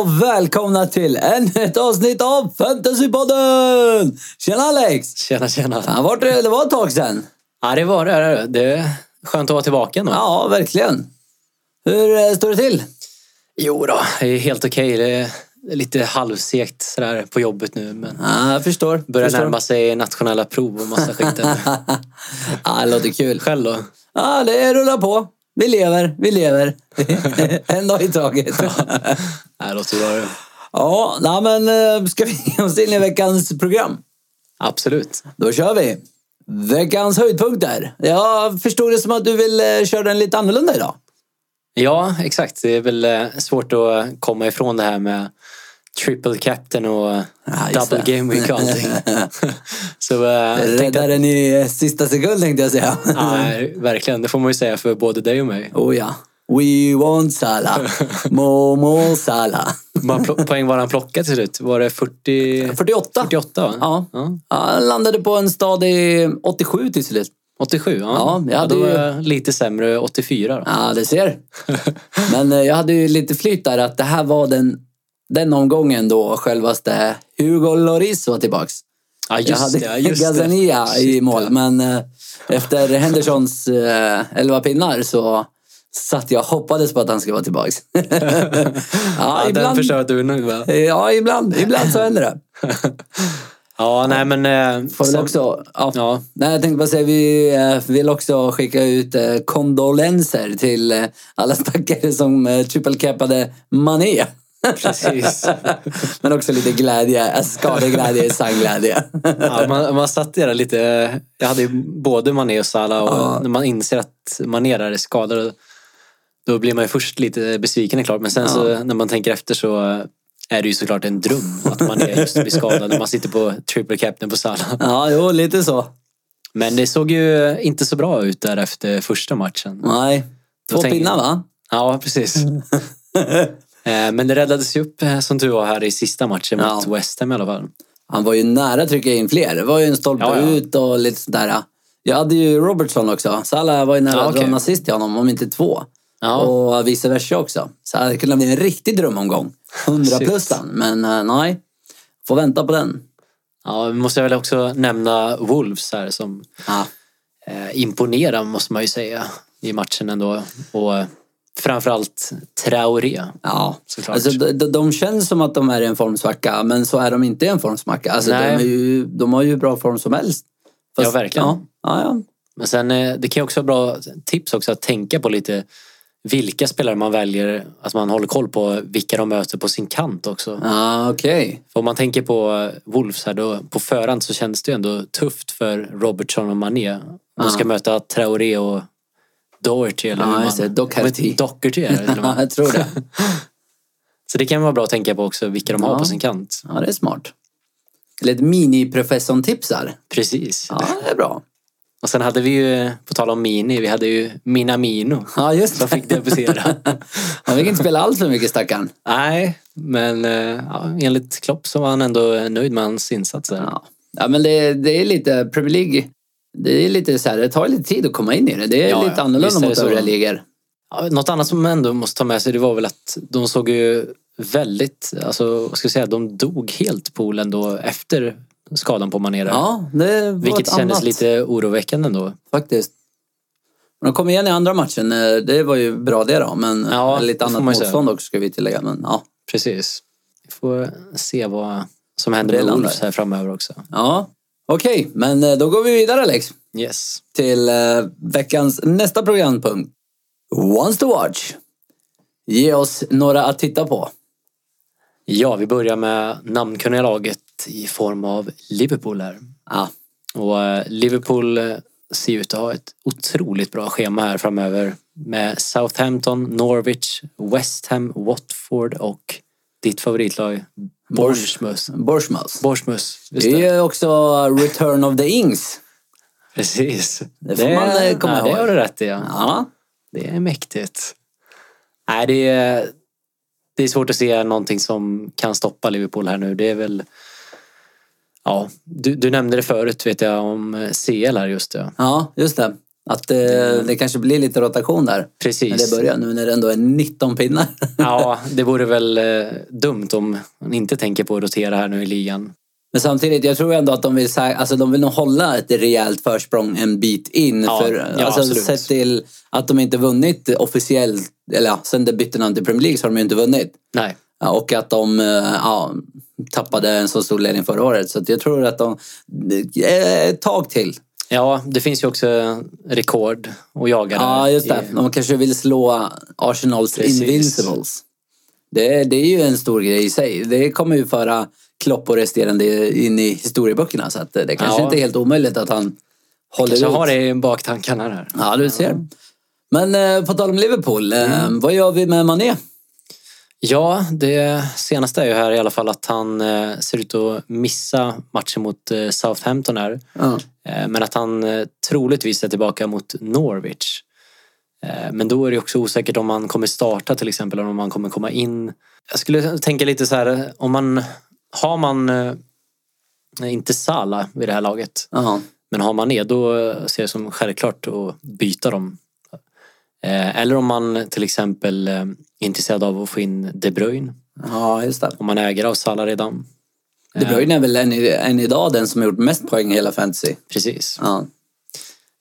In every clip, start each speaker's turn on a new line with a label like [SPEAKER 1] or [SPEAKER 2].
[SPEAKER 1] välkomna till ännu ett avsnitt av Fantasypodden! Tjena Alex!
[SPEAKER 2] Tjena, tjena.
[SPEAKER 1] Fan, vart det, det var ett tag sedan.
[SPEAKER 2] Ja, det var det. Det är skönt att vara tillbaka ändå.
[SPEAKER 1] Ja, verkligen. Hur eh, står det till?
[SPEAKER 2] Jo då, det är helt okej. Det är lite halvsegt sådär på jobbet nu. Men
[SPEAKER 1] Ja, jag förstår.
[SPEAKER 2] börjar
[SPEAKER 1] förstår.
[SPEAKER 2] närma sig nationella prov och massa skit. där.
[SPEAKER 1] Ja, det låter kul.
[SPEAKER 2] Själv då?
[SPEAKER 1] Ja, det rullar på. Vi lever, vi lever. en dag i taget.
[SPEAKER 2] Ja, det låter bra det.
[SPEAKER 1] ja, nej, men eh, ska vi ge oss in i veckans program?
[SPEAKER 2] Absolut.
[SPEAKER 1] Då kör vi! Veckans höjdpunkter. Jag förstod det som att du vill eh, köra den lite annorlunda idag.
[SPEAKER 2] Ja, exakt. Det är väl eh, svårt att komma ifrån det här med triple captain och
[SPEAKER 1] Ja, just
[SPEAKER 2] double
[SPEAKER 1] det.
[SPEAKER 2] game week och allting. Så eh, jag tänkte,
[SPEAKER 1] Räddade den i eh, sista sekund tänkte jag säga.
[SPEAKER 2] ja, verkligen, det får man ju säga för både dig och mig.
[SPEAKER 1] Oh ja. We want Salah. Momo Salah.
[SPEAKER 2] Hur många plo- poäng var han plockad till slut? Var det 40?
[SPEAKER 1] 48.
[SPEAKER 2] 48? va?
[SPEAKER 1] Ja. Ja, han landade på en stadig 87 till slut.
[SPEAKER 2] 87? Ja,
[SPEAKER 1] Ja, jag hade
[SPEAKER 2] då
[SPEAKER 1] ju-
[SPEAKER 2] var jag lite sämre 84 då.
[SPEAKER 1] Ja, det ser. Men eh, jag hade ju lite flyt där att det här var den, den omgången då självaste Hugo Lloris var tillbaks.
[SPEAKER 2] Ja,
[SPEAKER 1] Jag hade
[SPEAKER 2] ja, just
[SPEAKER 1] Gazzania i
[SPEAKER 2] Shit,
[SPEAKER 1] mål,
[SPEAKER 2] ja.
[SPEAKER 1] men eh, efter Hendersons eh, elva pinnar så satt jag och hoppades på att han skulle vara tillbaks. ja,
[SPEAKER 2] Ja, den
[SPEAKER 1] ibland,
[SPEAKER 2] förstörde du nu va?
[SPEAKER 1] ja, ibland, ibland så händer det.
[SPEAKER 2] Ja, nej men... eh,
[SPEAKER 1] Får väl
[SPEAKER 2] sen-
[SPEAKER 1] också, ja.
[SPEAKER 2] Ja,
[SPEAKER 1] Nej, jag tänkte bara säga, vi eh, vill också skicka ut eh, kondolenser till eh, alla stackare som eh, triple-cappade Mané.
[SPEAKER 2] precis.
[SPEAKER 1] Men också lite glädje, eh, skadeglädje, sangglädje.
[SPEAKER 2] Ja, man, man satt där lite... Jag hade ju både Mané och Salah och när man inser att Mané där är skadad då blir man ju först lite besviken är klart. Men sen så när man tänker efter så är det ju såklart en dröm att man är just blir skadad när man sitter på triple captain på Salah.
[SPEAKER 1] Ja, jo, lite så.
[SPEAKER 2] Men det såg ju inte så bra ut där efter första matchen.
[SPEAKER 1] Nej.
[SPEAKER 2] Då
[SPEAKER 1] Två
[SPEAKER 2] tänker-
[SPEAKER 1] pinnar va?
[SPEAKER 2] Ja, precis. Eh, Men det räddades ju upp eh, som tur var här i sista matchen mot
[SPEAKER 1] Ja.
[SPEAKER 2] West Ham i alla fall.
[SPEAKER 1] Han var ju nära att trycka in fler. Det var ju en stolpe
[SPEAKER 2] Ja, ja.
[SPEAKER 1] ut och lite sådär. Jag hade ju Robertson också. Salah var ju nära
[SPEAKER 2] Ja,
[SPEAKER 1] att dra
[SPEAKER 2] okej.
[SPEAKER 1] en assist till honom, om inte två.
[SPEAKER 2] Ja.
[SPEAKER 1] Och vice versa också. Så det kunde bli en riktig drömomgång. 100
[SPEAKER 2] Shit.
[SPEAKER 1] plussan. Men eh, nej, får vänta på den.
[SPEAKER 2] Ja, vi måste väl också nämna Wolves här som
[SPEAKER 1] Ja,
[SPEAKER 2] eh, imponerar måste man ju säga i matchen ändå. Och eh, framförallt Traoré.
[SPEAKER 1] ja.
[SPEAKER 2] Såklart.
[SPEAKER 1] Alltså, de, de- de känns som att de är i en formsvacka, men så är de inte i en formsvacka. Alltså, de,
[SPEAKER 2] Nej.
[SPEAKER 1] är ju, de har ju bra form som helst.
[SPEAKER 2] Ja, verkligen.
[SPEAKER 1] Ja, ja, ja.
[SPEAKER 2] Men sen eh, det kan ju också vara bra tips också att tänka på lite vilka spelare man väljer, att man håller koll på vilka de möter på sin kant också.
[SPEAKER 1] ja okej.
[SPEAKER 2] För om man tänker på Wolves här då, på förhand så känns det ju ändå tufft för Robertson och Mané. De ska möta Traoré och Doherty eller
[SPEAKER 1] Ja,
[SPEAKER 2] hur man...
[SPEAKER 1] just det. Doherty.
[SPEAKER 2] Doherty är det till och
[SPEAKER 1] Ja,
[SPEAKER 2] med.
[SPEAKER 1] jag tror det.
[SPEAKER 2] Så det kan vara bra att tänka på också, vilka de har
[SPEAKER 1] Ja.
[SPEAKER 2] på sin kant.
[SPEAKER 1] Ja, det är smart. Eller ett mini-professorn-tipsar.
[SPEAKER 2] Precis.
[SPEAKER 1] Ja, det är bra.
[SPEAKER 2] Och sen hade vi ju, på tal om Mini, vi hade ju Minamino.
[SPEAKER 1] Ja, just
[SPEAKER 2] Som
[SPEAKER 1] det.
[SPEAKER 2] fick debutera.
[SPEAKER 1] Han fick inte spela allt för mycket stackaren.
[SPEAKER 2] Nej, men eh, ja, enligt Klopp så var han ändå nöjd med hans insatser.
[SPEAKER 1] Ja, ja men det, det är lite Premier League. Det är lite så här, det tar lite tid att komma in i det. Det är
[SPEAKER 2] Ja,
[SPEAKER 1] lite
[SPEAKER 2] ja.
[SPEAKER 1] annorlunda
[SPEAKER 2] Visst är
[SPEAKER 1] mot
[SPEAKER 2] det så.
[SPEAKER 1] övriga ligor.
[SPEAKER 2] Ja, Något annat som man ändå måste ta med sig det var väl att de såg ju väldigt, alltså vad ska jag säga, de dog helt poolen då efter skadan på Mané. där.
[SPEAKER 1] Ja, det var
[SPEAKER 2] Vilket
[SPEAKER 1] ett
[SPEAKER 2] kändes
[SPEAKER 1] annat,
[SPEAKER 2] lite oroväckande ändå.
[SPEAKER 1] Faktiskt. Men de kom igen i andra matchen. eh, Det var ju bra det då, men eh,
[SPEAKER 2] Ja,
[SPEAKER 1] lite
[SPEAKER 2] det får
[SPEAKER 1] annat
[SPEAKER 2] man ju säga.
[SPEAKER 1] motstånd också ska vi tillägga. Men ja,
[SPEAKER 2] Precis. Vi får se vad som
[SPEAKER 1] Det
[SPEAKER 2] händer med
[SPEAKER 1] landar.
[SPEAKER 2] Wolves här framöver också.
[SPEAKER 1] ja. okej, men eh, då går vi vidare Alex
[SPEAKER 2] Yes.
[SPEAKER 1] till eh, veckans nästa programpunkt. Once to watch. Ge oss några att titta på.
[SPEAKER 2] Ja, vi börjar med namnkunniga laget i form av Liverpool här.
[SPEAKER 1] Ja,
[SPEAKER 2] Och eh, Liverpool eh, ser ut att ha ett otroligt bra schema här framöver med Southampton, Norwich, West Ham, Watford och ditt favoritlag Bournemouth.
[SPEAKER 1] Bournemouth.
[SPEAKER 2] Bournemouth, just
[SPEAKER 1] Det
[SPEAKER 2] det.
[SPEAKER 1] är ju också Return of the Ings.
[SPEAKER 2] Precis.
[SPEAKER 1] Det får man, eh, komma
[SPEAKER 2] ja,
[SPEAKER 1] ihåg.
[SPEAKER 2] Det har du rätt i. Ja.
[SPEAKER 1] Ja,
[SPEAKER 2] Det är mäktigt. Nej, det är, det är svårt att se någonting som kan stoppa Liverpool här nu. Det är väl... Ja, du, du nämnde det förut vet jag om CL eh, här just det.
[SPEAKER 1] ja just det. Att eh, det, det kanske blir lite rotation där. När det
[SPEAKER 2] Precis.
[SPEAKER 1] börjar nu när det ändå är 19 pinnar.
[SPEAKER 2] Ja, det vore väl eh, dumt om man inte tänker på att rotera här nu i ligan.
[SPEAKER 1] Men samtidigt, jag tror ändå att de vill, sä- alltså, de vill nog hålla ett rejält försprång en bit in.
[SPEAKER 2] Ja,
[SPEAKER 1] för,
[SPEAKER 2] ja,
[SPEAKER 1] alltså,
[SPEAKER 2] absolut.
[SPEAKER 1] sett till att de inte vunnit officiellt, eller ja, sen det bytte namn till Premier League så har de ju inte vunnit.
[SPEAKER 2] Nej.
[SPEAKER 1] Ja, Och att de eh, ja, tappade en så stor ledning förra året. Så att jag tror att de... eh, Ett tag till.
[SPEAKER 2] Ja, det finns ju också rekord att jaga där.
[SPEAKER 1] Ja, just det.
[SPEAKER 2] I-
[SPEAKER 1] De kanske vill slå Arsenals
[SPEAKER 2] Precis.
[SPEAKER 1] Invincibles. Det, det är ju en stor grej i sig. Det kommer ju föra Klopp och resterande in i historieböckerna. Så att eh, det kanske
[SPEAKER 2] Ja.
[SPEAKER 1] inte är helt omöjligt att han håller
[SPEAKER 2] Kanske
[SPEAKER 1] ut.
[SPEAKER 2] har det i baktankarna där.
[SPEAKER 1] Ja, du ser. Men eh, på tal om Liverpool, eh,
[SPEAKER 2] Mm.
[SPEAKER 1] vad gör vi med Mané?
[SPEAKER 2] Ja, det senaste är ju här i alla fall att han eh, ser ut att missa matchen mot eh, Southampton här.
[SPEAKER 1] Ja.
[SPEAKER 2] Eh, men att han eh, troligtvis är tillbaka mot Norwich. Eh, men då är det också osäkert om han kommer starta till exempel, eller om han kommer komma in. Jag skulle tänka lite så här, om man har man eh, inte Sala vid det här laget,
[SPEAKER 1] Ja.
[SPEAKER 2] men har man det, då ser jag som självklart att byta dem. Eh, Eller om man till exempel eh, är intresserad av att få in De Bruyne.
[SPEAKER 1] ja, just det.
[SPEAKER 2] Om man äger av Salah redan. Eh.
[SPEAKER 1] De Bruyne är väl än, i- än idag den som har gjort mest poäng i hela fantasy.
[SPEAKER 2] Precis.
[SPEAKER 1] Ja.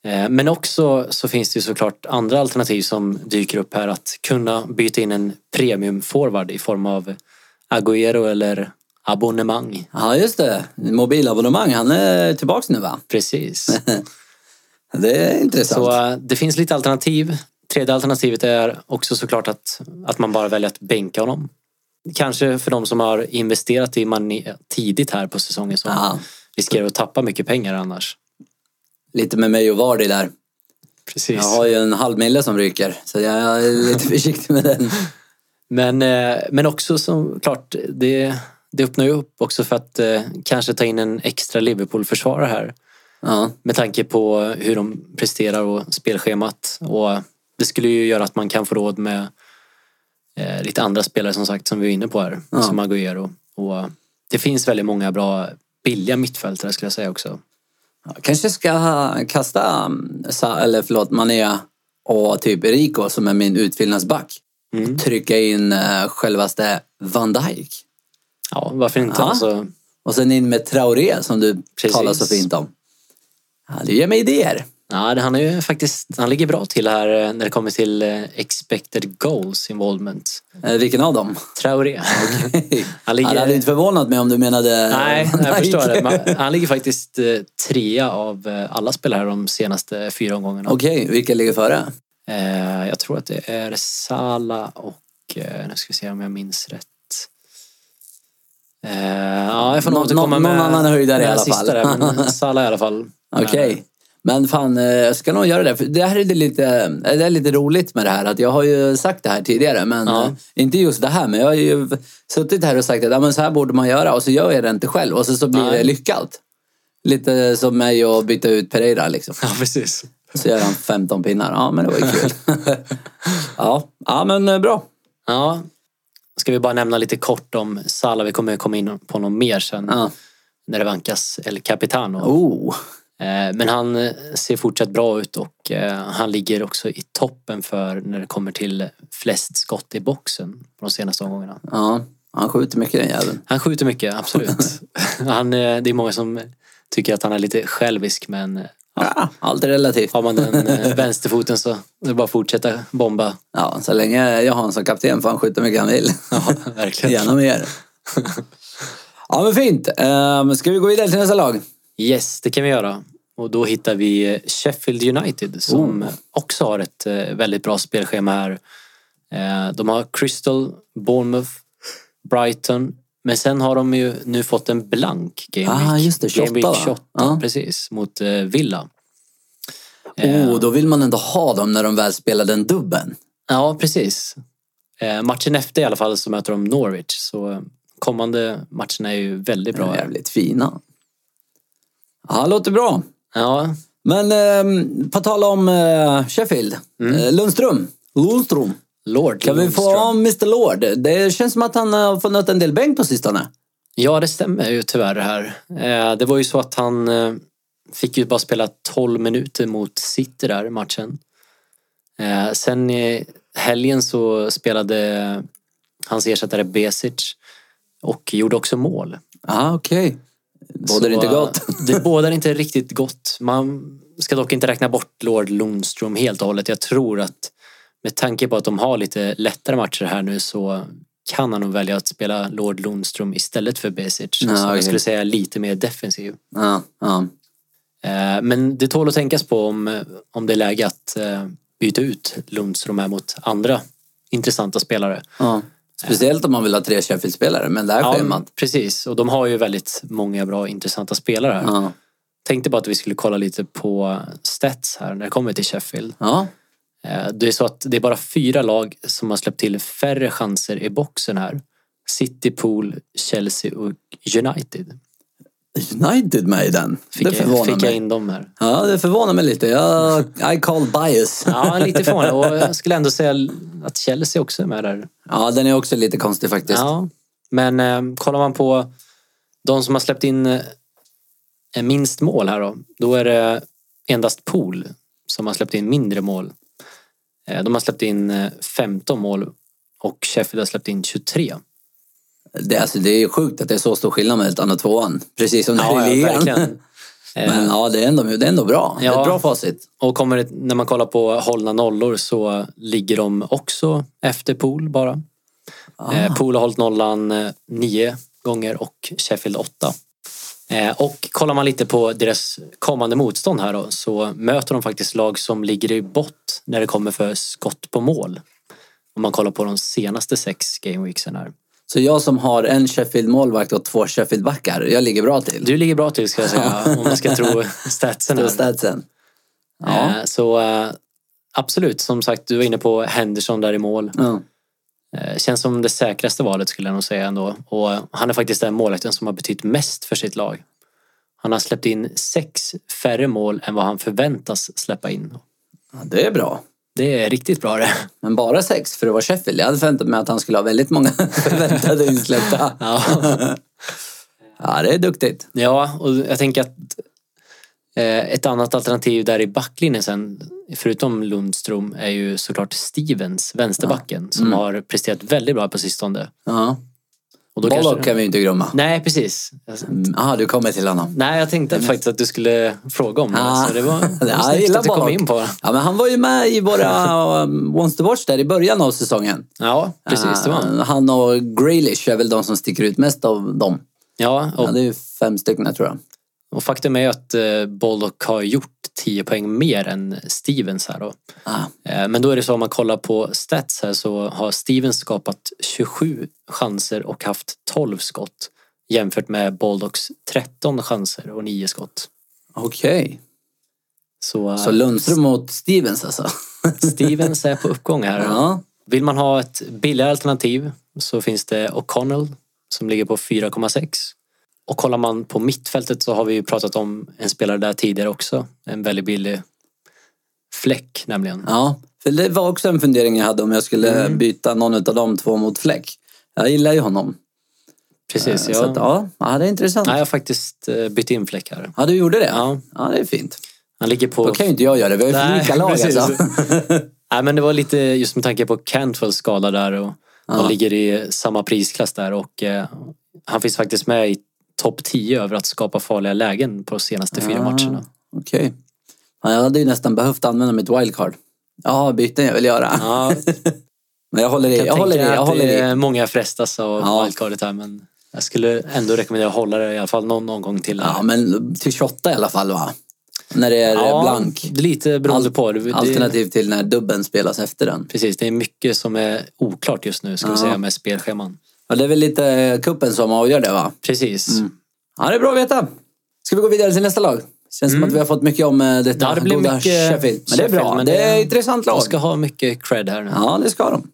[SPEAKER 2] Eh, Men också så finns det ju såklart andra alternativ som dyker upp här. Att kunna byta in en premiumforward i form av Agüero eller abonnemang.
[SPEAKER 1] ja, just det. Mobilabonnemang. Han är tillbaks nu va?
[SPEAKER 2] Precis.
[SPEAKER 1] Det är intressant.
[SPEAKER 2] Så eh, det finns lite alternativ. Tredje alternativet är också såklart att, att man bara väljer att bänka honom. Kanske för de som har investerat i Mané tidigt här på säsongen som
[SPEAKER 1] Ja.
[SPEAKER 2] riskerar att tappa mycket pengar annars.
[SPEAKER 1] lite med mig och Vardy där.
[SPEAKER 2] Precis.
[SPEAKER 1] Jag har ju en halv mille som ryker, så jag är lite försiktig med den.
[SPEAKER 2] Men, eh, men också såklart, det, det öppnar ju upp också för att eh, kanske ta in en extra Liverpool-försvarare här.
[SPEAKER 1] Ja,
[SPEAKER 2] Med tanke på hur de presterar och spelschemat. Och det skulle ju göra att man kan få råd med eh, lite andra spelare som sagt som vi är inne på här.
[SPEAKER 1] Ja.
[SPEAKER 2] Som Agüero. Och det finns väldigt många bra billiga mittfältare skulle jag säga också.
[SPEAKER 1] Jag kanske ska ha- kasta, mm, Sa- eller förlåt, Mané och typ Rico som är min utfyllnadsback.
[SPEAKER 2] Mm.
[SPEAKER 1] Trycka in eh, självaste Van Dijk.
[SPEAKER 2] Ja, varför inte?
[SPEAKER 1] Ja.
[SPEAKER 2] Alltså,
[SPEAKER 1] Och sen in med Traoré som du
[SPEAKER 2] Precis.
[SPEAKER 1] talar så fint om. Ja, det ger mig idéer.
[SPEAKER 2] ja, det- han, är ju faktiskt, han ligger bra till här eh, när det kommer till eh, expected goals involvement.
[SPEAKER 1] Eh, vilken av dem?
[SPEAKER 2] Traoré. Han
[SPEAKER 1] Det
[SPEAKER 2] ligger,
[SPEAKER 1] hade inte förvånat mig om du menade
[SPEAKER 2] nej,
[SPEAKER 1] Van
[SPEAKER 2] jag
[SPEAKER 1] Dijk.
[SPEAKER 2] förstår det. Men Han ligger faktiskt eh, trea av eh, alla spelare de senaste fyra omgångarna.
[SPEAKER 1] Okej, vilka ligger före?
[SPEAKER 2] Eh, jag tror att det är Sala och, eh, nu ska vi se om jag minns rätt. Eh, ja, jag får nog
[SPEAKER 1] Nå-
[SPEAKER 2] återkomma
[SPEAKER 1] någon-
[SPEAKER 2] med
[SPEAKER 1] någon annan höjdare i
[SPEAKER 2] med
[SPEAKER 1] alla
[SPEAKER 2] sista
[SPEAKER 1] fall.
[SPEAKER 2] Där, men Sala i alla fall.
[SPEAKER 1] Okej.
[SPEAKER 2] Men,
[SPEAKER 1] Men fan, eh, jag ska nog göra det. För det här är det lite, eh, det är lite roligt med det här. Att jag har ju sagt det här tidigare, men
[SPEAKER 2] Ja.
[SPEAKER 1] eh, inte just det här. Men jag har ju suttit här och sagt att ja, men så här borde man göra och så gör jag det inte själv och så, så blir
[SPEAKER 2] Nej.
[SPEAKER 1] det lyckat. Lite som mig och byta ut Pereira liksom.
[SPEAKER 2] Ja, precis.
[SPEAKER 1] Så gör han 15 pinnar. Ja, men det var ju kul. ja. ja, men eh, bra.
[SPEAKER 2] Ja. Ska vi bara nämna lite kort om Sala. Vi kommer komma in på något mer sen
[SPEAKER 1] Ja.
[SPEAKER 2] när det vankas El Capitano.
[SPEAKER 1] Oh.
[SPEAKER 2] Eh, Men han eh, ser fortsatt bra ut och eh, han ligger också i toppen för när det kommer till flest skott i boxen på de senaste omgångarna.
[SPEAKER 1] Ja. Han skjuter mycket den jäveln.
[SPEAKER 2] Han skjuter mycket, absolut. han, eh, det är många som tycker att han är lite självisk men eh,
[SPEAKER 1] Ja. Allt är relativt.
[SPEAKER 2] har man den eh, vänsterfoten så är det bara att fortsätta bomba.
[SPEAKER 1] Ja, så länge jag har honom som kapten får han skjuta hur mycket han vill.
[SPEAKER 2] Ja, verkligen.
[SPEAKER 1] Gärna mer. ja men fint. Ehm, ska vi gå vidare till nästa lag?
[SPEAKER 2] Yes, det kan vi göra. Och då hittar vi eh, Sheffield United
[SPEAKER 1] Oh.
[SPEAKER 2] som också har ett eh, väldigt bra spelschema här. Eh, De har Crystal, Bournemouth, Brighton. Men sen har de ju nu fått en blank game
[SPEAKER 1] Ah,
[SPEAKER 2] week.
[SPEAKER 1] just det, 28,
[SPEAKER 2] Game week
[SPEAKER 1] va?
[SPEAKER 2] 28
[SPEAKER 1] Ja.
[SPEAKER 2] precis. Mot eh, Villa. Eh,
[SPEAKER 1] Oh, då vill man ändå ha dem när de väl spelar den dubben.
[SPEAKER 2] Ja, precis. Eh, Matchen efter i alla fall så möter de Norwich. Så kommande matchen är ju väldigt
[SPEAKER 1] De
[SPEAKER 2] bra.
[SPEAKER 1] är
[SPEAKER 2] här.
[SPEAKER 1] jävligt fina. Ja, låter bra.
[SPEAKER 2] Ja,
[SPEAKER 1] Men ehm, på tal om eh, Sheffield. Eh, Lundström. Lundström.
[SPEAKER 2] Lord
[SPEAKER 1] Kan vi få
[SPEAKER 2] Lundström.
[SPEAKER 1] Mr Lord? Det känns som att han har fått nöta en del bänk på sistone.
[SPEAKER 2] Ja, det stämmer ju tyvärr det här. Eh, Det var ju så att han eh, Fick ju bara spela 12 minuter mot City där i matchen. Eh, sen i helgen så spelade hans ersättare Besic och gjorde också mål.
[SPEAKER 1] Ah, okej. Bådar
[SPEAKER 2] Så,
[SPEAKER 1] inte gott.
[SPEAKER 2] eh, Det bådar inte riktigt gott. Man ska dock inte räkna bort Lord Lundström helt och hållet. Jag tror att med tanke på att de har lite lättare matcher här nu så kan han nog välja att spela Lord Lundström istället för Besic.
[SPEAKER 1] Ja,
[SPEAKER 2] som
[SPEAKER 1] okej.
[SPEAKER 2] jag skulle säga är lite mer defensiv.
[SPEAKER 1] Ja, ja.
[SPEAKER 2] Eh, Men det tål att tänkas på om, eh, om det är läge att eh, byta ut Lundström här mot andra intressanta spelare.
[SPEAKER 1] ja. Speciellt om man vill ha tre Sheffield-spelare med det här schemat.
[SPEAKER 2] precis. Och de har ju väldigt många bra intressanta spelare här.
[SPEAKER 1] Ja.
[SPEAKER 2] Tänkte bara att vi skulle kolla lite på stats här när det kommer till Sheffield.
[SPEAKER 1] ja.
[SPEAKER 2] Eh, Det är så att det är bara fyra lag som har släppt till färre chanser i boxen här. City, Pool, Chelsea och United.
[SPEAKER 1] United med i den.
[SPEAKER 2] Fick,
[SPEAKER 1] det förvånar
[SPEAKER 2] jag, fick jag
[SPEAKER 1] mig.
[SPEAKER 2] in dem här.
[SPEAKER 1] Ja, det förvånar mig lite. Jag, I call bias.
[SPEAKER 2] Ja, lite förvånad. Och jag skulle ändå säga att Chelsea också är med där.
[SPEAKER 1] Ja, den är också lite konstig faktiskt.
[SPEAKER 2] Ja, men eh, kollar man på de som har släppt in eh, minst mål här då, då är det endast Pool som har släppt in mindre mål. Eh, de har släppt in eh, 15 mål och Sheffield har släppt in 23.
[SPEAKER 1] Det, alltså, det är ju sjukt att det är så stor skillnad mellan ettan och tvåan. Precis som när det är i ligan.
[SPEAKER 2] Eh,
[SPEAKER 1] Men ja, det är ändå, det är ändå bra. Det är
[SPEAKER 2] Ja.
[SPEAKER 1] Ett bra facit.
[SPEAKER 2] och kommer det, när man kollar på hållna nollor så ligger de också efter Pool bara. Eh, Pool har hållit nollan eh, nio gånger och Sheffield åtta. Eh, och kollar man lite på deras kommande motstånd här då, så möter de faktiskt lag som ligger i bott när det kommer för skott på mål. Om man kollar på de senaste sex gameweeksen här.
[SPEAKER 1] Så jag som har en Sheffield-målvakt och två Sheffield-backar, jag ligger bra till.
[SPEAKER 2] Du ligger bra till ska jag säga, om man ska tro statsen
[SPEAKER 1] Det var
[SPEAKER 2] här.
[SPEAKER 1] statsen. Ja.
[SPEAKER 2] Eh, så eh, absolut, som sagt, du var inne på Henderson där i mål.
[SPEAKER 1] Ja.
[SPEAKER 2] Eh, Känns som det säkraste valet skulle jag nog säga ändå. Och eh, han är faktiskt den målvakten som har betytt mest för sitt lag. Han har släppt in sex färre mål än vad han förväntas släppa in.
[SPEAKER 1] Ja, det är bra.
[SPEAKER 2] Det är riktigt bra det.
[SPEAKER 1] Men bara sex för att vara Sheffield. Jag hade förväntat mig att han skulle ha väldigt många förväntade insläppta.
[SPEAKER 2] Ja,
[SPEAKER 1] Ja, det är duktigt.
[SPEAKER 2] ja och jag tänker att eh, ett annat alternativ där i backlinjen sen, förutom Lundström, är ju såklart Stevens, vänsterbacken, som har presterat väldigt bra på sistone.
[SPEAKER 1] Ja.
[SPEAKER 2] Och då
[SPEAKER 1] Bollock
[SPEAKER 2] kanske-
[SPEAKER 1] kan vi ju inte glömma.
[SPEAKER 2] Nej, precis. Alltså,
[SPEAKER 1] Mm, Aha, du kommer till honom.
[SPEAKER 2] Nej, jag tänkte faktiskt att du skulle fråga om det.
[SPEAKER 1] Ah.
[SPEAKER 2] Så det var, det
[SPEAKER 1] Ja,
[SPEAKER 2] var
[SPEAKER 1] jag
[SPEAKER 2] snyggt
[SPEAKER 1] gillar
[SPEAKER 2] att du kom
[SPEAKER 1] Balak.
[SPEAKER 2] in på.
[SPEAKER 1] Ja, men han var ju med i våra um, Once to Watch där i början av säsongen.
[SPEAKER 2] Ja, precis. Det var han.
[SPEAKER 1] Ah, Han och Grealish är väl de som sticker ut mest av dem.
[SPEAKER 2] Ja,
[SPEAKER 1] Ja,
[SPEAKER 2] och,
[SPEAKER 1] det är ju fem stycken tror jag.
[SPEAKER 2] och faktum är ju att eh, Bollock har gjort 10 poäng mer än Stevens här då.
[SPEAKER 1] Ah,
[SPEAKER 2] Eh, Men då är det så om man kollar på stats här så har Stevens skapat 27 chanser och haft 12 skott jämfört med Bollocks 13 chanser och 9 skott.
[SPEAKER 1] Okej.
[SPEAKER 2] Så, eh,
[SPEAKER 1] Så Lundström mot Stevens alltså?
[SPEAKER 2] Stevens är på uppgång här.
[SPEAKER 1] Ja.
[SPEAKER 2] Vill man ha ett billigare alternativ så finns det O'Connell som ligger på 4,6. Och kollar man på mittfältet så har vi ju pratat om en spelare där tidigare också. En väldigt billig fläck nämligen.
[SPEAKER 1] ja. För det var också en fundering jag hade om jag skulle
[SPEAKER 2] Mm.
[SPEAKER 1] byta någon av de två mot Fläck. Jag gillar ju honom.
[SPEAKER 2] Precis,
[SPEAKER 1] Så att,
[SPEAKER 2] ja.
[SPEAKER 1] ja. ja, det är intressant.
[SPEAKER 2] Nej, jag har faktiskt eh, bytt in fläck här.
[SPEAKER 1] Ja, du gjorde det?
[SPEAKER 2] Ja,
[SPEAKER 1] Ja, det är fint.
[SPEAKER 2] han ligger
[SPEAKER 1] Då
[SPEAKER 2] på...
[SPEAKER 1] kan ju inte jag göra det. Vi har ju för
[SPEAKER 2] Nej,
[SPEAKER 1] lika lag
[SPEAKER 2] precis.
[SPEAKER 1] alltså.
[SPEAKER 2] Nej, men det var lite just med tanke på Cantwells skada där och
[SPEAKER 1] Ja.
[SPEAKER 2] han ligger i samma prisklass där och eh, han finns faktiskt med i topp 10 över att skapa farliga lägen på de senaste fyra matcherna.
[SPEAKER 1] Ah, Okej. Ja, jag hade ju nästan behövt använda mitt wildcard. Ja, byten jag vill göra.
[SPEAKER 2] Ja,
[SPEAKER 1] Men jag håller i, jag,
[SPEAKER 2] Jag
[SPEAKER 1] håller i,
[SPEAKER 2] tänker
[SPEAKER 1] jag
[SPEAKER 2] att
[SPEAKER 1] håller
[SPEAKER 2] det
[SPEAKER 1] i.
[SPEAKER 2] är Många frestas av
[SPEAKER 1] Ja.
[SPEAKER 2] wildcardet här men jag skulle ändå rekommendera att hålla det i alla fall någon, någon gång till.
[SPEAKER 1] Ja, men till 28 i alla fall va? När det är
[SPEAKER 2] Ja,
[SPEAKER 1] blank.
[SPEAKER 2] Lite beroende
[SPEAKER 1] Al-
[SPEAKER 2] på. Det, det,
[SPEAKER 1] Alternativ till när dubben spelas efter den.
[SPEAKER 2] precis, det är mycket som är oklart just nu ska vi
[SPEAKER 1] Ja.
[SPEAKER 2] säga med spelscheman.
[SPEAKER 1] Ja, det är väl lite eh, kuppen som avgör det va?
[SPEAKER 2] Precis.
[SPEAKER 1] Mm. Ja, det är bra att veta. Ska vi gå vidare till nästa lag? Känns som att vi har fått mycket om eh, detta
[SPEAKER 2] Mm. Ja, det blir
[SPEAKER 1] goda
[SPEAKER 2] mycket
[SPEAKER 1] Sheffield. Men det är bra.
[SPEAKER 2] Sheffield, men
[SPEAKER 1] det...
[SPEAKER 2] det-
[SPEAKER 1] är ett intressant
[SPEAKER 2] De
[SPEAKER 1] lag.
[SPEAKER 2] ska ha mycket cred här nu.
[SPEAKER 1] Ja, det ska de.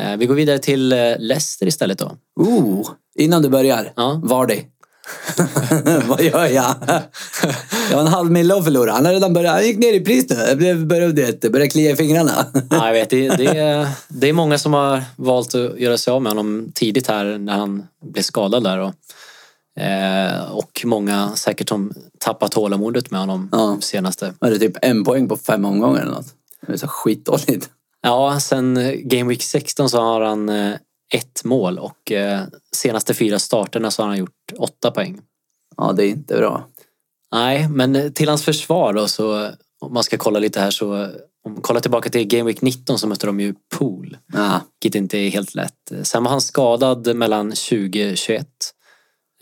[SPEAKER 2] Eh, Vi går vidare till eh, Leicester istället då.
[SPEAKER 1] Ooh, innan du börjar.
[SPEAKER 2] Ja.
[SPEAKER 1] Vardy. Vad gör jag? jag har en halv mille att förlora. Han har redan börjat. Han gick ner i pris nu. Jag blev- började, du vet, började klia i fingrarna.
[SPEAKER 2] Ja, jag vet, det, det, är, det är många som har valt att göra sig av med honom tidigt här när han blev skadad där. Och Eh, och många säkert som tappat tålamodet med honom
[SPEAKER 1] Ja.
[SPEAKER 2] senaste.
[SPEAKER 1] Var det typ en poäng på fem omgångar eller något? Det är så skitdåligt.
[SPEAKER 2] Ja, sen eh, Game Week 16 så har han eh, ett mål och eh, senaste fyra starterna så har han gjort åtta poäng.
[SPEAKER 1] Ja, det är inte bra.
[SPEAKER 2] Nej, men eh, till hans försvar då så eh, om man ska kolla lite här så eh, om kolla tillbaka till Game Week 19 så mötte de ju Pool,
[SPEAKER 1] Ja,
[SPEAKER 2] vilket inte är helt lätt. Eh, Sen var han skadad mellan 20 och 21.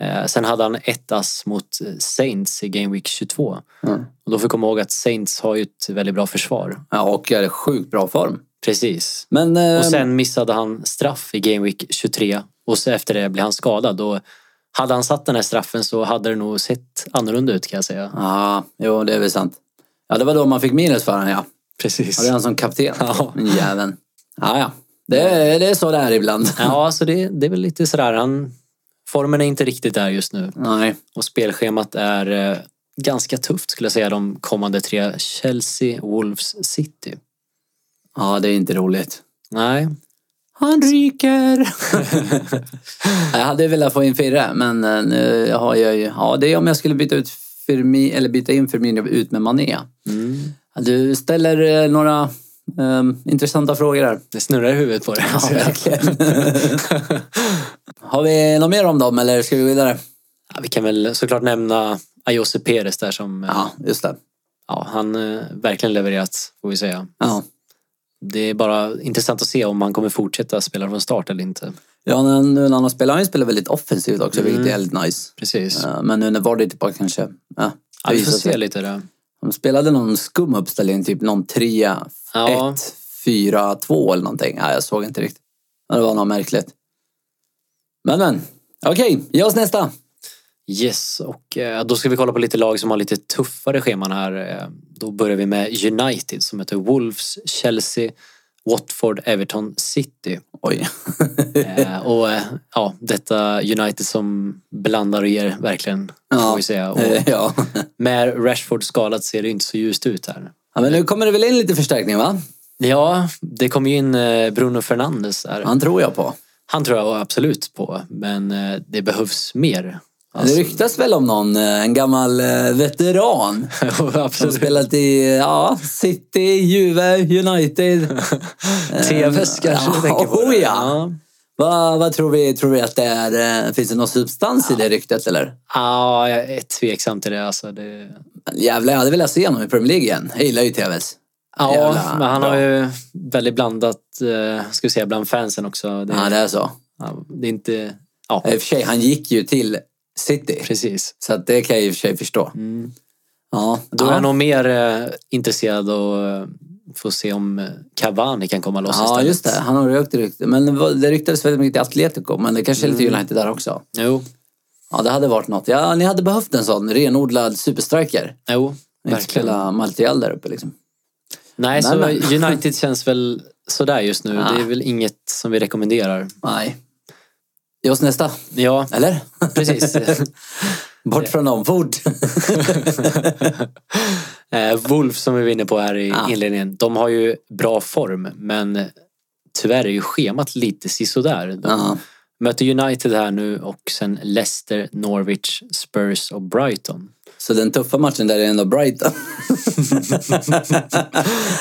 [SPEAKER 2] Eh, Sen hade han ett ass mot eh, Saints i Game Week 22.
[SPEAKER 1] Mm.
[SPEAKER 2] Och då får vi komma ihåg att Saints har ju ett väldigt bra försvar.
[SPEAKER 1] ja och är i sjukt bra form.
[SPEAKER 2] Precis.
[SPEAKER 1] Men eh,
[SPEAKER 2] Och sen missade han straff i Game Week 23 och så efter det blev han skadad. Och hade han satt den här straffen så hade det nog sett annorlunda ut kan jag säga.
[SPEAKER 1] Ja, jo det är väl sant. Ja, det var då man fick minus för honom ja.
[SPEAKER 2] Precis.
[SPEAKER 1] Ja, det är han som kapten.
[SPEAKER 2] Ja.
[SPEAKER 1] Den jäveln. Ja, ja. Det, är- det är så det är ibland.
[SPEAKER 2] Ja, alltså det, det är väl lite sådär. Han, formen är inte riktigt där just nu.
[SPEAKER 1] Nej.
[SPEAKER 2] Och spelschemat är eh, ganska tufft skulle jag säga de kommande tre. Chelsea, Wolves, City.
[SPEAKER 1] Ja, det är inte roligt.
[SPEAKER 2] Nej,
[SPEAKER 1] Han ryker! jag hade velat få in Firre, men eh, nu har jag ju... Ja, det är om jag skulle byta, ut Firmi, eller byta in Firmino ut med Mané.
[SPEAKER 2] Mm.
[SPEAKER 1] Du ställer eh, några eh, intressanta frågor här.
[SPEAKER 2] det snurrar i huvudet på det.
[SPEAKER 1] Ja, verkligen. har vi något mer om dem, eller ska vi gå vidare?
[SPEAKER 2] Ja, vi kan väl såklart nämna Ayose Perez där som eh,
[SPEAKER 1] Ja, just det.
[SPEAKER 2] ja, han eh, verkligen levererat får vi säga.
[SPEAKER 1] Ja.
[SPEAKER 2] Det är bara intressant att se om han kommer fortsätta spela från start eller inte.
[SPEAKER 1] Ja, när han- nu när han har spelat, han spelar väldigt offensivt också,
[SPEAKER 2] Mm.
[SPEAKER 1] vilket är väldigt nice.
[SPEAKER 2] Precis.
[SPEAKER 1] Eh, Men nu när Vardy är tillbaka kanske... Ja, det
[SPEAKER 2] Ja, vi får
[SPEAKER 1] visar sig.
[SPEAKER 2] se lite där.
[SPEAKER 1] De spelade någon skum uppställning, typ någon 3,
[SPEAKER 2] Ja.
[SPEAKER 1] 1, 4, 2 eller någonting. Nej, jag såg inte riktigt. Men det var något märkligt. Men men, okej, ge oss nästa.
[SPEAKER 2] Yes, och eh, då ska vi kolla på lite lag som har lite tuffare scheman här. Eh, Då börjar vi med United som heter Wolves, Chelsea, Watford, Everton, City.
[SPEAKER 1] Oj.
[SPEAKER 2] Eh, Och eh, ja, detta United som blandar och ger verkligen, får vi säga. Och
[SPEAKER 1] Eh, ja.
[SPEAKER 2] med Rashford skadat ser det inte så ljust ut här.
[SPEAKER 1] ja, men nu kommer det väl in lite förstärkning va?
[SPEAKER 2] Ja, det kom ju in eh, Bruno Fernandes där.
[SPEAKER 1] Han tror jag på.
[SPEAKER 2] Han tror jag absolut på, men eh, det behövs mer. Alltså.
[SPEAKER 1] Det ryktas väl om någon, eh, en gammal eh, veteran som
[SPEAKER 2] absolut.
[SPEAKER 1] spelat i eh, ja, City, Juve, United.
[SPEAKER 2] TVs kanske
[SPEAKER 1] Ja,
[SPEAKER 2] du tänker på.
[SPEAKER 1] oh
[SPEAKER 2] det.
[SPEAKER 1] ja. Vad vad tror vi? Tror vi att det är, eh, finns det någon substans i det ryktet eller?
[SPEAKER 2] Ja, jag är tveksam till det. Alltså, det...
[SPEAKER 1] Jävlar, jag hade velat se honom i Premier League igen. Jag gillar ju TVS.
[SPEAKER 2] Ja,
[SPEAKER 1] Jävla
[SPEAKER 2] men han
[SPEAKER 1] bra.
[SPEAKER 2] har ju väldigt blandat, eh, ska vi säga, bland fansen också. Det,
[SPEAKER 1] Ja, det är så.
[SPEAKER 2] ja, det är inte... Ja,
[SPEAKER 1] I och för sig, han gick ju till City.
[SPEAKER 2] precis. Mm.
[SPEAKER 1] Så att det kan jag i och för sig förstå. Ja,
[SPEAKER 2] Då
[SPEAKER 1] ja.
[SPEAKER 2] är jag nog mer eh, intresserad och eh, får se om eh, Cavani kan komma loss
[SPEAKER 1] Ja,
[SPEAKER 2] istället.
[SPEAKER 1] just det. Han har rökt rykte. Men vad- det ryktades väldigt mycket i Atletico, men det kanske är
[SPEAKER 2] Mm.
[SPEAKER 1] lite United där också.
[SPEAKER 2] Jo,
[SPEAKER 1] Ja, det hade varit något. Ja, ni hade behövt en sån renodlad superstriker.
[SPEAKER 2] jo
[SPEAKER 1] Inte
[SPEAKER 2] verkligen.
[SPEAKER 1] spela Maltial där uppe liksom.
[SPEAKER 2] Nej, så
[SPEAKER 1] men-
[SPEAKER 2] United känns väl sådär just nu.
[SPEAKER 1] Ah.
[SPEAKER 2] Det är väl inget som vi rekommenderar.
[SPEAKER 1] Nej. Ge oss nästa.
[SPEAKER 2] Ja,
[SPEAKER 1] Eller?
[SPEAKER 2] precis.
[SPEAKER 1] Bort från dem, fort!
[SPEAKER 2] Eh, Wolf som vi var inne på här i
[SPEAKER 1] Ah.
[SPEAKER 2] inledningen, de har ju bra form men tyvärr är ju schemat lite sisådär. De
[SPEAKER 1] Ja.
[SPEAKER 2] möter United här nu och sen Leicester, Norwich, Spurs och Brighton.
[SPEAKER 1] Så den tuffa matchen där är ändå Brighton.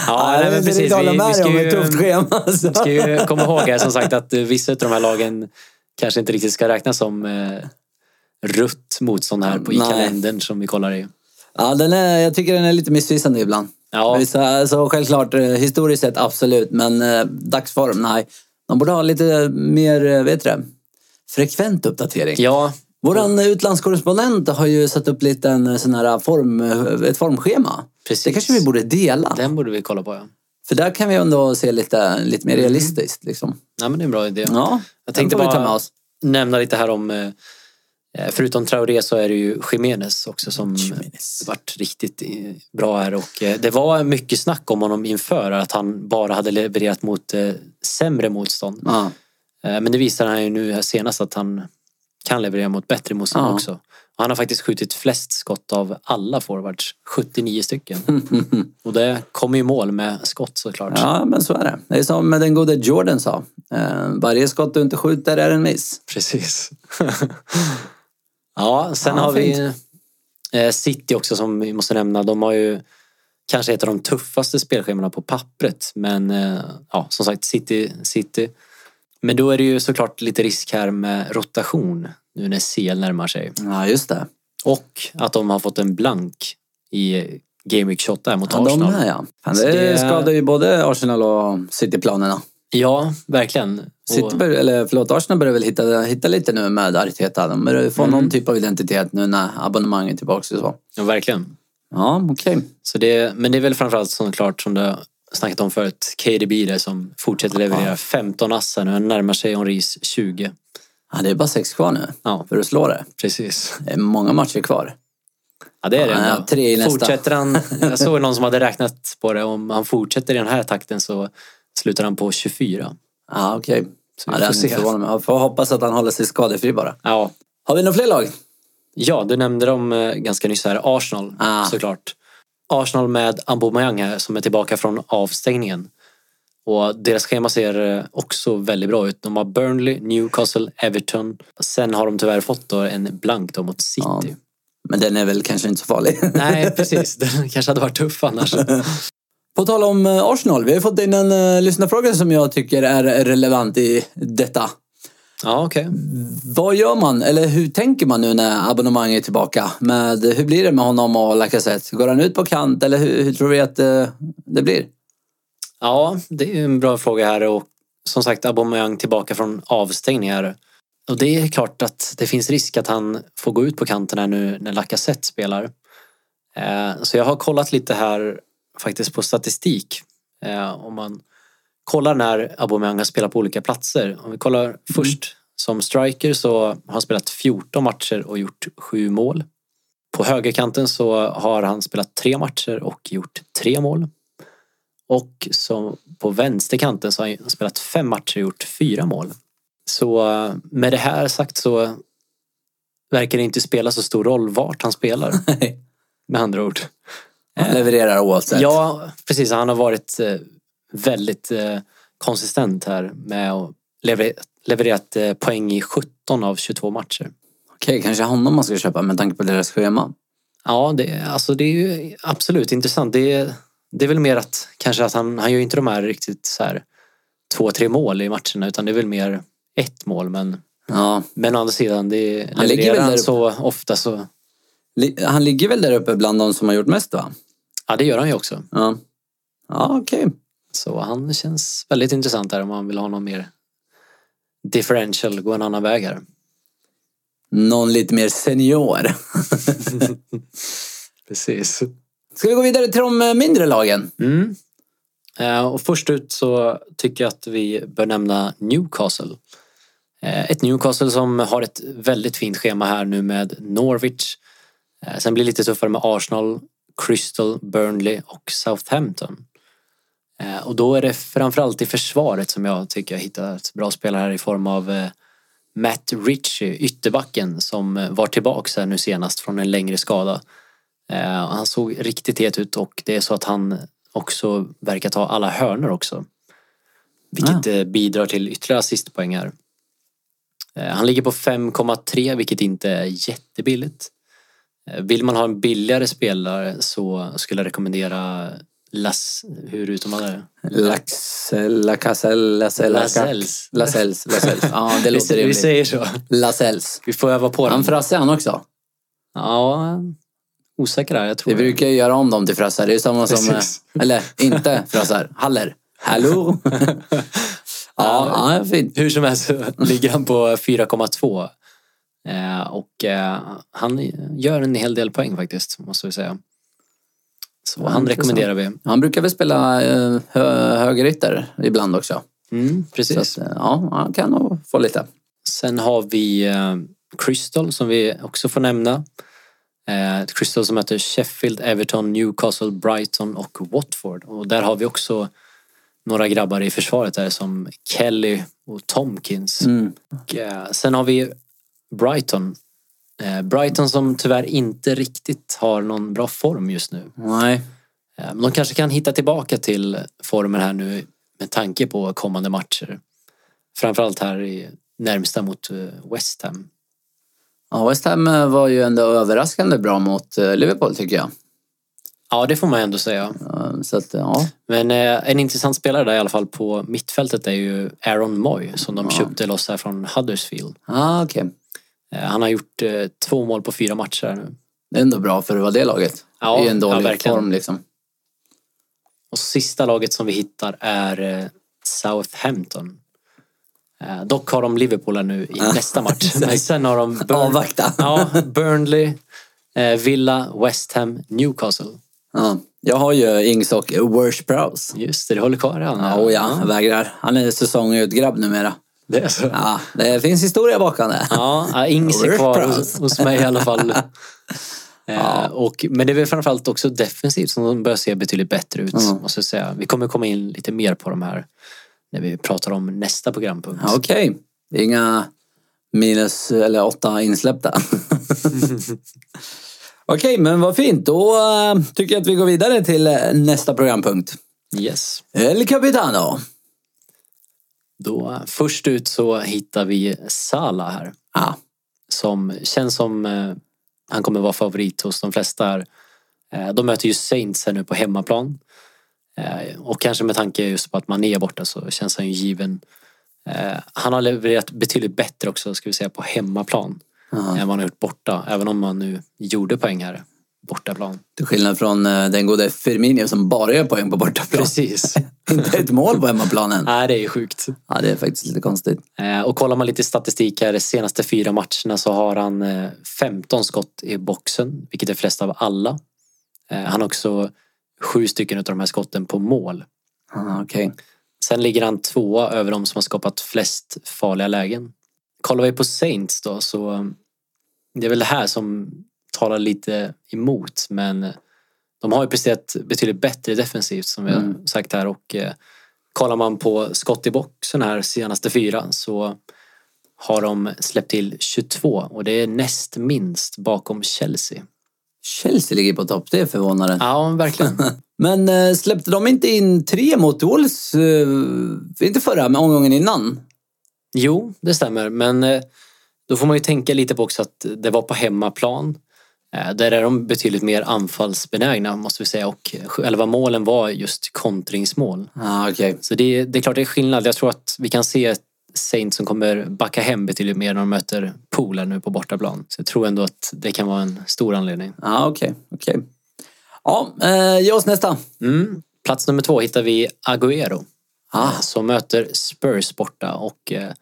[SPEAKER 2] Ja, nej, men precis. Vi, vi ska, ju,
[SPEAKER 1] schema. alltså.
[SPEAKER 2] ska ju komma ihåg här som sagt att eh, vissa av de här lagen kanske inte riktigt ska räknas som eh, rött motstånd här på, i
[SPEAKER 1] Nej.
[SPEAKER 2] kalendern som vi kollar i.
[SPEAKER 1] Ja, den är, jag tycker den är lite missvisande ibland.
[SPEAKER 2] Ja.
[SPEAKER 1] Vissa, alltså, självklart, eh, historiskt sett absolut, men eh, dagsform, nej. De borde ha lite mer, eh, vet du det, frekvent uppdatering.
[SPEAKER 2] Ja,
[SPEAKER 1] Våran utlandskorrespondent har ju satt upp lite en eh, sån här form, eh, ett formschema.
[SPEAKER 2] Precis.
[SPEAKER 1] Det kanske vi borde dela.
[SPEAKER 2] den borde vi kolla på. Ja.
[SPEAKER 1] För där kan vi ändå se lite, lite mer realistiskt. Liksom.
[SPEAKER 2] Nej, men det är en bra idé.
[SPEAKER 1] Ja,
[SPEAKER 2] Mm. Jag tänkte
[SPEAKER 1] den får vi
[SPEAKER 2] bara
[SPEAKER 1] ta med oss.
[SPEAKER 2] nämna lite här om, eh, förutom Traoré så är det ju Jiménez också som
[SPEAKER 1] Jimenez.
[SPEAKER 2] varit riktigt eh, bra här och eh, det var mycket snack om honom inför att han bara hade levererat mot eh, sämre motstånd.
[SPEAKER 1] Ja.
[SPEAKER 2] Eh, Men det visar han ju nu här senast att han kan leverera mot bättre motstånd
[SPEAKER 1] Ja.
[SPEAKER 2] också. Och Han har faktiskt skjutit flest skott av alla forwards, 79 stycken. Och det kommer ju mål med skott såklart.
[SPEAKER 1] Ja, men så är det. Det är som den gode Jordan sa. Eh, varje skott du inte skjuter är en miss.
[SPEAKER 2] Precis. Ja, sen
[SPEAKER 1] Ja,
[SPEAKER 2] har vi
[SPEAKER 1] fint.
[SPEAKER 2] eh, City också som vi måste nämna. De har ju kanske ett av de tuffaste spelschemana på pappret. Men eh, ja, som sagt, City, City. Men då är det ju såklart lite risk här med rotation nu när CL närmar sig.
[SPEAKER 1] Ja, just det.
[SPEAKER 2] Och att de har fått en blank i Game Week 28 här mot
[SPEAKER 1] Ja, de
[SPEAKER 2] Arsenal.
[SPEAKER 1] med ja. Fan,
[SPEAKER 2] Så
[SPEAKER 1] det,
[SPEAKER 2] det-
[SPEAKER 1] skadar ju både Arsenal och City-planerna.
[SPEAKER 2] Ja, verkligen.
[SPEAKER 1] City bör, eller förlåt, Arsenal börjar väl hitta, hitta lite nu med Arteta. De börjar ju få
[SPEAKER 2] Mm.
[SPEAKER 1] någon typ av identitet nu när abonnemanget är tillbaka och så.
[SPEAKER 2] Ja, verkligen.
[SPEAKER 1] Ja, okej.
[SPEAKER 2] Så det, men det är väl framförallt såklart som du har snackat om förut, KDB där som fortsätter leverera 15 assar nu. Han närmar sig Henris 20.
[SPEAKER 1] Ja, det är bara sex kvar nu
[SPEAKER 2] Ja,
[SPEAKER 1] för att slå det.
[SPEAKER 2] precis.
[SPEAKER 1] Det är många matcher kvar.
[SPEAKER 2] Ja, det är det.
[SPEAKER 1] Ja,
[SPEAKER 2] ändå.
[SPEAKER 1] tre i nästa.
[SPEAKER 2] Fortsätter han, jag såg någon som hade räknat på det, om han fortsätter i den här takten så slutar han på 24.
[SPEAKER 1] Ja, okej.
[SPEAKER 2] Så
[SPEAKER 1] Ja, det
[SPEAKER 2] vi får
[SPEAKER 1] hade inte
[SPEAKER 2] se.
[SPEAKER 1] förvånat mig. Jag får hoppas att han håller sig skadefri bara.
[SPEAKER 2] Ja.
[SPEAKER 1] Har vi några fler lag?
[SPEAKER 2] ja, du nämnde dem eh, ganska nyss här, Arsenal
[SPEAKER 1] Ah.
[SPEAKER 2] såklart. Arsenal med Aubameyang här som är tillbaka från avstängningen. Och deras schema ser eh, också väldigt bra ut. De har Burnley, Newcastle, Everton. Sen har de tyvärr fått då en blank då mot City.
[SPEAKER 1] Ja. Men den är väl kanske inte så farlig.
[SPEAKER 2] Nej, precis. Den kanske hade varit tuff annars.
[SPEAKER 1] På tal om eh, Arsenal, vi har ju fått in en eh, lyssnarfråga som jag tycker är relevant i detta.
[SPEAKER 2] Ja, okej.
[SPEAKER 1] Vad gör man, eller hur tänker man nu när abonnemanget är tillbaka? Med, hur blir det med honom och Lacazette? Går han ut på kant eller hur, hur tror vi att eh, det blir?
[SPEAKER 2] Ja, det är en bra fråga här och som sagt Aubameyang tillbaka från avstängningar. Och det är klart att det finns risk att han får gå ut på kanten här nu när Lacazette spelar. Eh, Så jag har kollat lite här faktiskt på statistik. Eh, Om man kollar när Aubameyang har spelat på olika platser. Om vi kollar först som striker så har han spelat 14 matcher och gjort 7 mål. På högerkanten så har han spelat 3 matcher och gjort 3 mål. Och som på vänsterkanten så har han spelat fem matcher och gjort fyra mål. Så eh, med det här sagt så verkar det inte spela så stor roll vart han spelar. med andra ord.
[SPEAKER 1] Han levererar oavsett.
[SPEAKER 2] Eh. Ja, precis. Han har varit eh, väldigt eh, konsistent här med att lever- levererat eh, poäng i 17 av 22 matcher.
[SPEAKER 1] Okej, kanske honom man ska köpa med tanke på deras schema.
[SPEAKER 2] Ja, det, alltså det är ju absolut intressant. Det, det är väl mer att kanske att han, han gör ju inte de här riktigt så här två, tre mål i matcherna utan det är väl mer ett mål. Men,
[SPEAKER 1] Ja.
[SPEAKER 2] men å andra sidan, det
[SPEAKER 1] Han ligger
[SPEAKER 2] levererar
[SPEAKER 1] väl
[SPEAKER 2] han
[SPEAKER 1] där
[SPEAKER 2] så ofta så...
[SPEAKER 1] Li- Han ligger väl där uppe bland de som har gjort mest va?
[SPEAKER 2] Ja, det gör han ju också.
[SPEAKER 1] Ja, ja okej.
[SPEAKER 2] Så han känns väldigt intressant där om man vill ha någon mer differential, gå en annan väg här.
[SPEAKER 1] Någon lite mer senior.
[SPEAKER 2] Precis.
[SPEAKER 1] Ska vi gå vidare till de eh, mindre lagen?
[SPEAKER 2] Mm. Eh, Och först ut så tycker jag att vi bör nämna Newcastle. Eh, Ett Newcastle som har ett väldigt fint schema här nu med Norwich. Eh, Sen blir det lite tuffare med Arsenal, Crystal, Burnley och Southampton. Eh, Och då är det framförallt i försvaret som jag tycker jag hittar ett bra spelare här i form av eh, Matt Ritchie, ytterbacken, som eh, var tillbaks här nu senast från en längre skada. Eh, och Han såg riktigt het ut och det är så att han också verkar ta alla hörnor också.
[SPEAKER 1] Ah.
[SPEAKER 2] Vilket eh, bidrar till ytterligare assistpoäng här. Eh, Han ligger på 5,3 vilket inte är jättebilligt. Eh, Vill man ha en billigare spelare så skulle jag rekommendera Las... Hur uttalar man det?
[SPEAKER 1] Laxell, Lacazell, Lacell,
[SPEAKER 2] Lasells.
[SPEAKER 1] Lasells, Lasells. Ja, det
[SPEAKER 2] Vi,
[SPEAKER 1] låter
[SPEAKER 2] vi
[SPEAKER 1] rimligt.
[SPEAKER 2] säger så.
[SPEAKER 1] Lasells.
[SPEAKER 2] Vi får öva på
[SPEAKER 1] Han
[SPEAKER 2] den.
[SPEAKER 1] frasse han också.
[SPEAKER 2] Ja, osäker där. Jag tror
[SPEAKER 1] Vi brukar ju göra om dem till frassar. Det är ju samma som...
[SPEAKER 2] Precis.
[SPEAKER 1] eh, Eller inte frassar. Haller. Hallå? ja, ja, fint.
[SPEAKER 2] Hur som helst så ligger han på 4,2. Eh, och eh, han gör en hel del poäng faktiskt, måste vi säga. Så
[SPEAKER 1] Ja,
[SPEAKER 2] han
[SPEAKER 1] intressant.
[SPEAKER 2] rekommenderar vi.
[SPEAKER 1] Han brukar väl spela eh, hö- högerytter ibland också.
[SPEAKER 2] Mm,
[SPEAKER 1] Så att,
[SPEAKER 2] precis.
[SPEAKER 1] eh, ja, han kan nog få lite.
[SPEAKER 2] Sen har vi eh, Crystal som vi också får nämna. Eh, Crystal som möter Sheffield, Everton, Newcastle, Brighton och Watford. Och där har vi också några grabbar i försvaret där som Kelly och Tomkins.
[SPEAKER 1] Mm.
[SPEAKER 2] Och, eh, sen har vi Brighton. Eh, Brighton som tyvärr inte riktigt har någon bra form just nu.
[SPEAKER 1] Nej.
[SPEAKER 2] Eh, men de kanske kan hitta tillbaka till formen här nu med tanke på kommande matcher. Framförallt här i närmsta mot eh, West Ham.
[SPEAKER 1] Ja, West Ham eh, var ju ändå överraskande bra mot eh, Liverpool tycker jag.
[SPEAKER 2] Ja, det får man ändå säga.
[SPEAKER 1] Eh, Så att, ja.
[SPEAKER 2] Men eh, en intressant spelare där i alla fall på mittfältet är ju Aaron Moy som de
[SPEAKER 1] Ja.
[SPEAKER 2] köpte loss här från Huddersfield.
[SPEAKER 1] Ah, okej.
[SPEAKER 2] Eh, han har gjort eh, två mål på fyra matcher här nu.
[SPEAKER 1] Det är ändå bra för att vara det laget.
[SPEAKER 2] Ja,
[SPEAKER 1] det är ju en
[SPEAKER 2] ja,
[SPEAKER 1] dålig
[SPEAKER 2] verkligen.
[SPEAKER 1] form liksom.
[SPEAKER 2] Och sista laget som vi hittar är eh, Southampton. Eh, dock har de Liverpool här nu i nästa match. Men sen har de Burn-
[SPEAKER 1] Avvakta.
[SPEAKER 2] ja, Burnley, eh, Villa, West Ham, Newcastle.
[SPEAKER 1] Ja. Jag har ju Ings och Worsh Prowse.
[SPEAKER 2] Just det, det håller kvar han.
[SPEAKER 1] Ja, oh, ja, jag vägrar. Han är säsongutgrabb numera.
[SPEAKER 2] Det är så.
[SPEAKER 1] Ja, det finns historia bakom det.
[SPEAKER 2] Ja, ja, Ings är
[SPEAKER 1] Worth
[SPEAKER 2] kvar
[SPEAKER 1] proud.
[SPEAKER 2] hos, hos mig i alla fall. Eh, och, men det är väl framförallt också defensivt som de börjar se betydligt bättre ut.
[SPEAKER 1] Mm.
[SPEAKER 2] Måste jag säga. Vi kommer komma in lite mer på de här när vi pratar om nästa programpunkt.
[SPEAKER 1] Ja, Okej, Det är inga minus eller åtta insläppta. Okej, men vad fint. Då eh, tycker jag att vi går vidare till eh, nästa programpunkt.
[SPEAKER 2] Yes.
[SPEAKER 1] El Capitano.
[SPEAKER 2] Då, eh, först ut så hittar vi Sala här.
[SPEAKER 1] Ja,
[SPEAKER 2] Som känns som eh, han kommer vara favorit hos de flesta här. Eh, de möter ju Saints här nu på hemmaplan. Eh, och kanske med tanke just på att man är borta så känns han ju given. Eh, han har levererat betydligt bättre också ska vi säga på hemmaplan.
[SPEAKER 1] Ja.
[SPEAKER 2] Än vad han har gjort borta. Även om han nu gjorde poäng här bortaplan.
[SPEAKER 1] till skillnad från eh, den gode Firmino som bara gör poäng på bortaplan.
[SPEAKER 2] Precis.
[SPEAKER 1] Inte ett mål på hemmaplanen.
[SPEAKER 2] Nej det är ju sjukt.
[SPEAKER 1] Ja, det är faktiskt lite konstigt.
[SPEAKER 2] Eh, Och kollar man lite statistik här, de senaste fyra matcherna så har han eh, 15 skott i boxen, vilket är flest av alla. Eh, Han har också sju stycken av de här skotten på mål.
[SPEAKER 1] Ja, Okej.
[SPEAKER 2] Sen ligger han tvåa över de som har skapat flest farliga lägen. Kollar vi på Saints då så eh, det är väl det här som talar lite emot men eh, de har ju presterat betydligt bättre defensivt som vi har
[SPEAKER 1] Mm.
[SPEAKER 2] sagt här och eh, kollar man på skott i boxen här senaste fyra så har de släppt till 22 och det är näst minst bakom Chelsea.
[SPEAKER 1] Chelsea ligger på topp, det är förvånande.
[SPEAKER 2] Ja, verkligen.
[SPEAKER 1] Men eh, släppte de inte in tre mot Wolves? eh, Inte förra, men omgången innan?
[SPEAKER 2] Jo, det stämmer. Men eh, då får man ju tänka lite på också att det var på hemmaplan. Eh, Där är de betydligt mer anfallsbenägna måste vi säga och själva målen var just kontringsmål.
[SPEAKER 1] Ja, Ah, Okej.
[SPEAKER 2] Så det, det är klart det är skillnad. Jag tror att vi kan se ett Saint som kommer backa hem betydligt mer när de möter Pool här nu på bortaplan. Så jag tror ändå att det kan vara en stor anledning.
[SPEAKER 1] Ja, Ah, okej. okej. Ja, eh, ge oss nästa.
[SPEAKER 2] Mm. Plats nummer två hittar vi Agüero.
[SPEAKER 1] Ah.
[SPEAKER 2] Som möter Spurs borta och eh,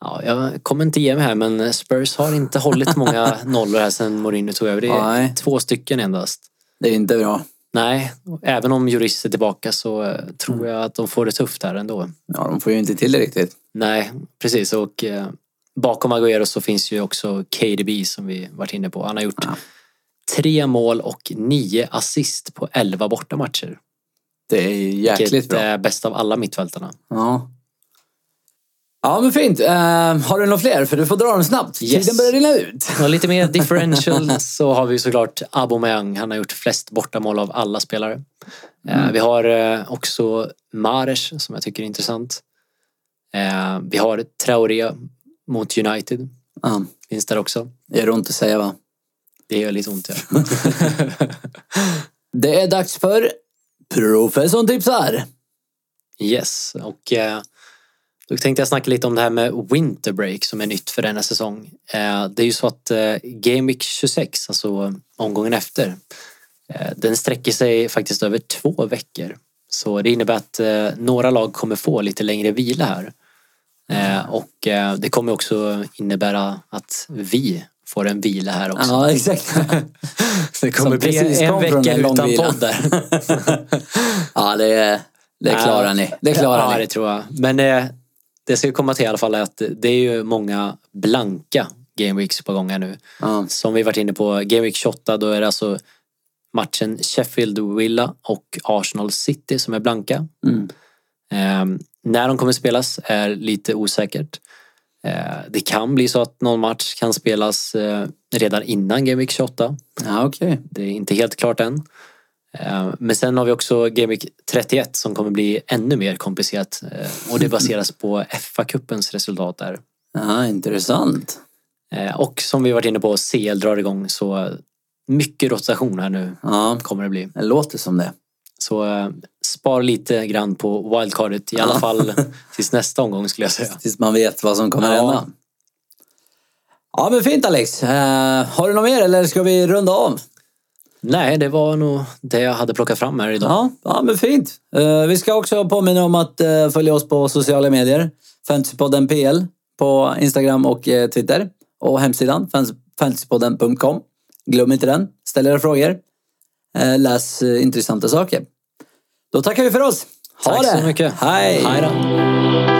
[SPEAKER 2] ja, jag kommer inte ge mig här men Spurs har inte hållit många nollor här sen Mourinho tog över. Det är
[SPEAKER 1] Nej.
[SPEAKER 2] två stycken endast.
[SPEAKER 1] Det är inte bra.
[SPEAKER 2] Nej, även om Jurist är tillbaka så eh, tror
[SPEAKER 1] Mm.
[SPEAKER 2] jag att de får det tufft här ändå.
[SPEAKER 1] Ja, de får ju inte till det riktigt.
[SPEAKER 2] Nej, precis. Och eh, bakom Agüero så finns ju också KDB som vi varit inne på. Han har gjort
[SPEAKER 1] Ja.
[SPEAKER 2] tre mål och nio assist på elva bortamatcher.
[SPEAKER 1] Det är ju jäkligt
[SPEAKER 2] Vilket eh,
[SPEAKER 1] bra.
[SPEAKER 2] är bäst av alla mittfältarna.
[SPEAKER 1] Ja. ja, men fint. Eh, har du några fler? För du får dra dem snabbt.
[SPEAKER 2] Yes.
[SPEAKER 1] Tiden börjar rinna ut.
[SPEAKER 2] Och lite mer differential så har vi såklart Aubameyang. Han har gjort flest bortamål av alla spelare. Eh, Vi har eh, också Mares som jag tycker är intressant. Eh, Vi har Traoré mot United.
[SPEAKER 1] Ja,
[SPEAKER 2] Finns där också.
[SPEAKER 1] det gör ont att säga va?
[SPEAKER 2] Det gör lite ont. Ja.
[SPEAKER 1] Det är dags för Professorn tipsar.
[SPEAKER 2] Yes, och eh, då tänkte jag snacka lite om det här med winter break som är nytt för denna säsong. Eh, Det är ju så att eh, Game Week 26, alltså omgången efter, eh, den sträcker sig faktiskt över två veckor. Så det innebär att eh, några lag kommer få lite längre vila här. Eh, Och eh, det kommer också innebära att vi får en vila här också.
[SPEAKER 1] Ja, exakt.
[SPEAKER 2] det
[SPEAKER 1] som
[SPEAKER 2] kommer bli
[SPEAKER 1] precis
[SPEAKER 2] en
[SPEAKER 1] kom från
[SPEAKER 2] vecka
[SPEAKER 1] en lång
[SPEAKER 2] utan
[SPEAKER 1] vila.
[SPEAKER 2] podd där.
[SPEAKER 1] ja, det, det klarar ni. Det klarar
[SPEAKER 2] ja,
[SPEAKER 1] ni.
[SPEAKER 2] det tror jag. Men eh, det ska komma till i alla fall är att det är ju många blanka Game Weeks på gång här nu.
[SPEAKER 1] Ja.
[SPEAKER 2] Som vi varit inne på, Game Week 28, då är det alltså matchen Sheffield-Villa och Arsenal City som är blanka.
[SPEAKER 1] Mm.
[SPEAKER 2] Eh, när de kommer spelas är lite osäkert. Eh, det kan bli så att någon match kan spelas eh, redan innan Game Week 28.
[SPEAKER 1] Ja, okej.
[SPEAKER 2] Det är inte helt klart än. Eh, Men sen har vi också Game Week 31 som kommer bli ännu mer komplicerat. eh, Och det baseras på FA-cupens resultat där.
[SPEAKER 1] Ja, intressant.
[SPEAKER 2] Eh, Och som vi varit inne på, CL drar igång så mycket rotation här nu
[SPEAKER 1] Ja,
[SPEAKER 2] kommer det bli.
[SPEAKER 1] det låter som det.
[SPEAKER 2] Så eh, spar lite grann på wildcardet i alla
[SPEAKER 1] Ja.
[SPEAKER 2] fall tills nästa omgång skulle jag säga.
[SPEAKER 1] Tills man vet vad som kommer
[SPEAKER 2] Ja.
[SPEAKER 1] hända. Ja men fint Alex. Eh, har du något mer eller ska vi runda av?
[SPEAKER 2] Nej, det var nog det jag hade plockat fram här idag.
[SPEAKER 1] Ja, ja men fint. Eh, vi ska också påminna om att eh, följa oss på sociala medier. Fantasypodden PL på Instagram och eh, Twitter. Och hemsidan fans- fantasypodden.com. Glöm inte den. Ställ era frågor. Eh, läs eh, intressanta saker. Då tackar vi för oss. Ha
[SPEAKER 2] Tack
[SPEAKER 1] det!
[SPEAKER 2] så mycket.
[SPEAKER 1] Hej!
[SPEAKER 2] Hej då.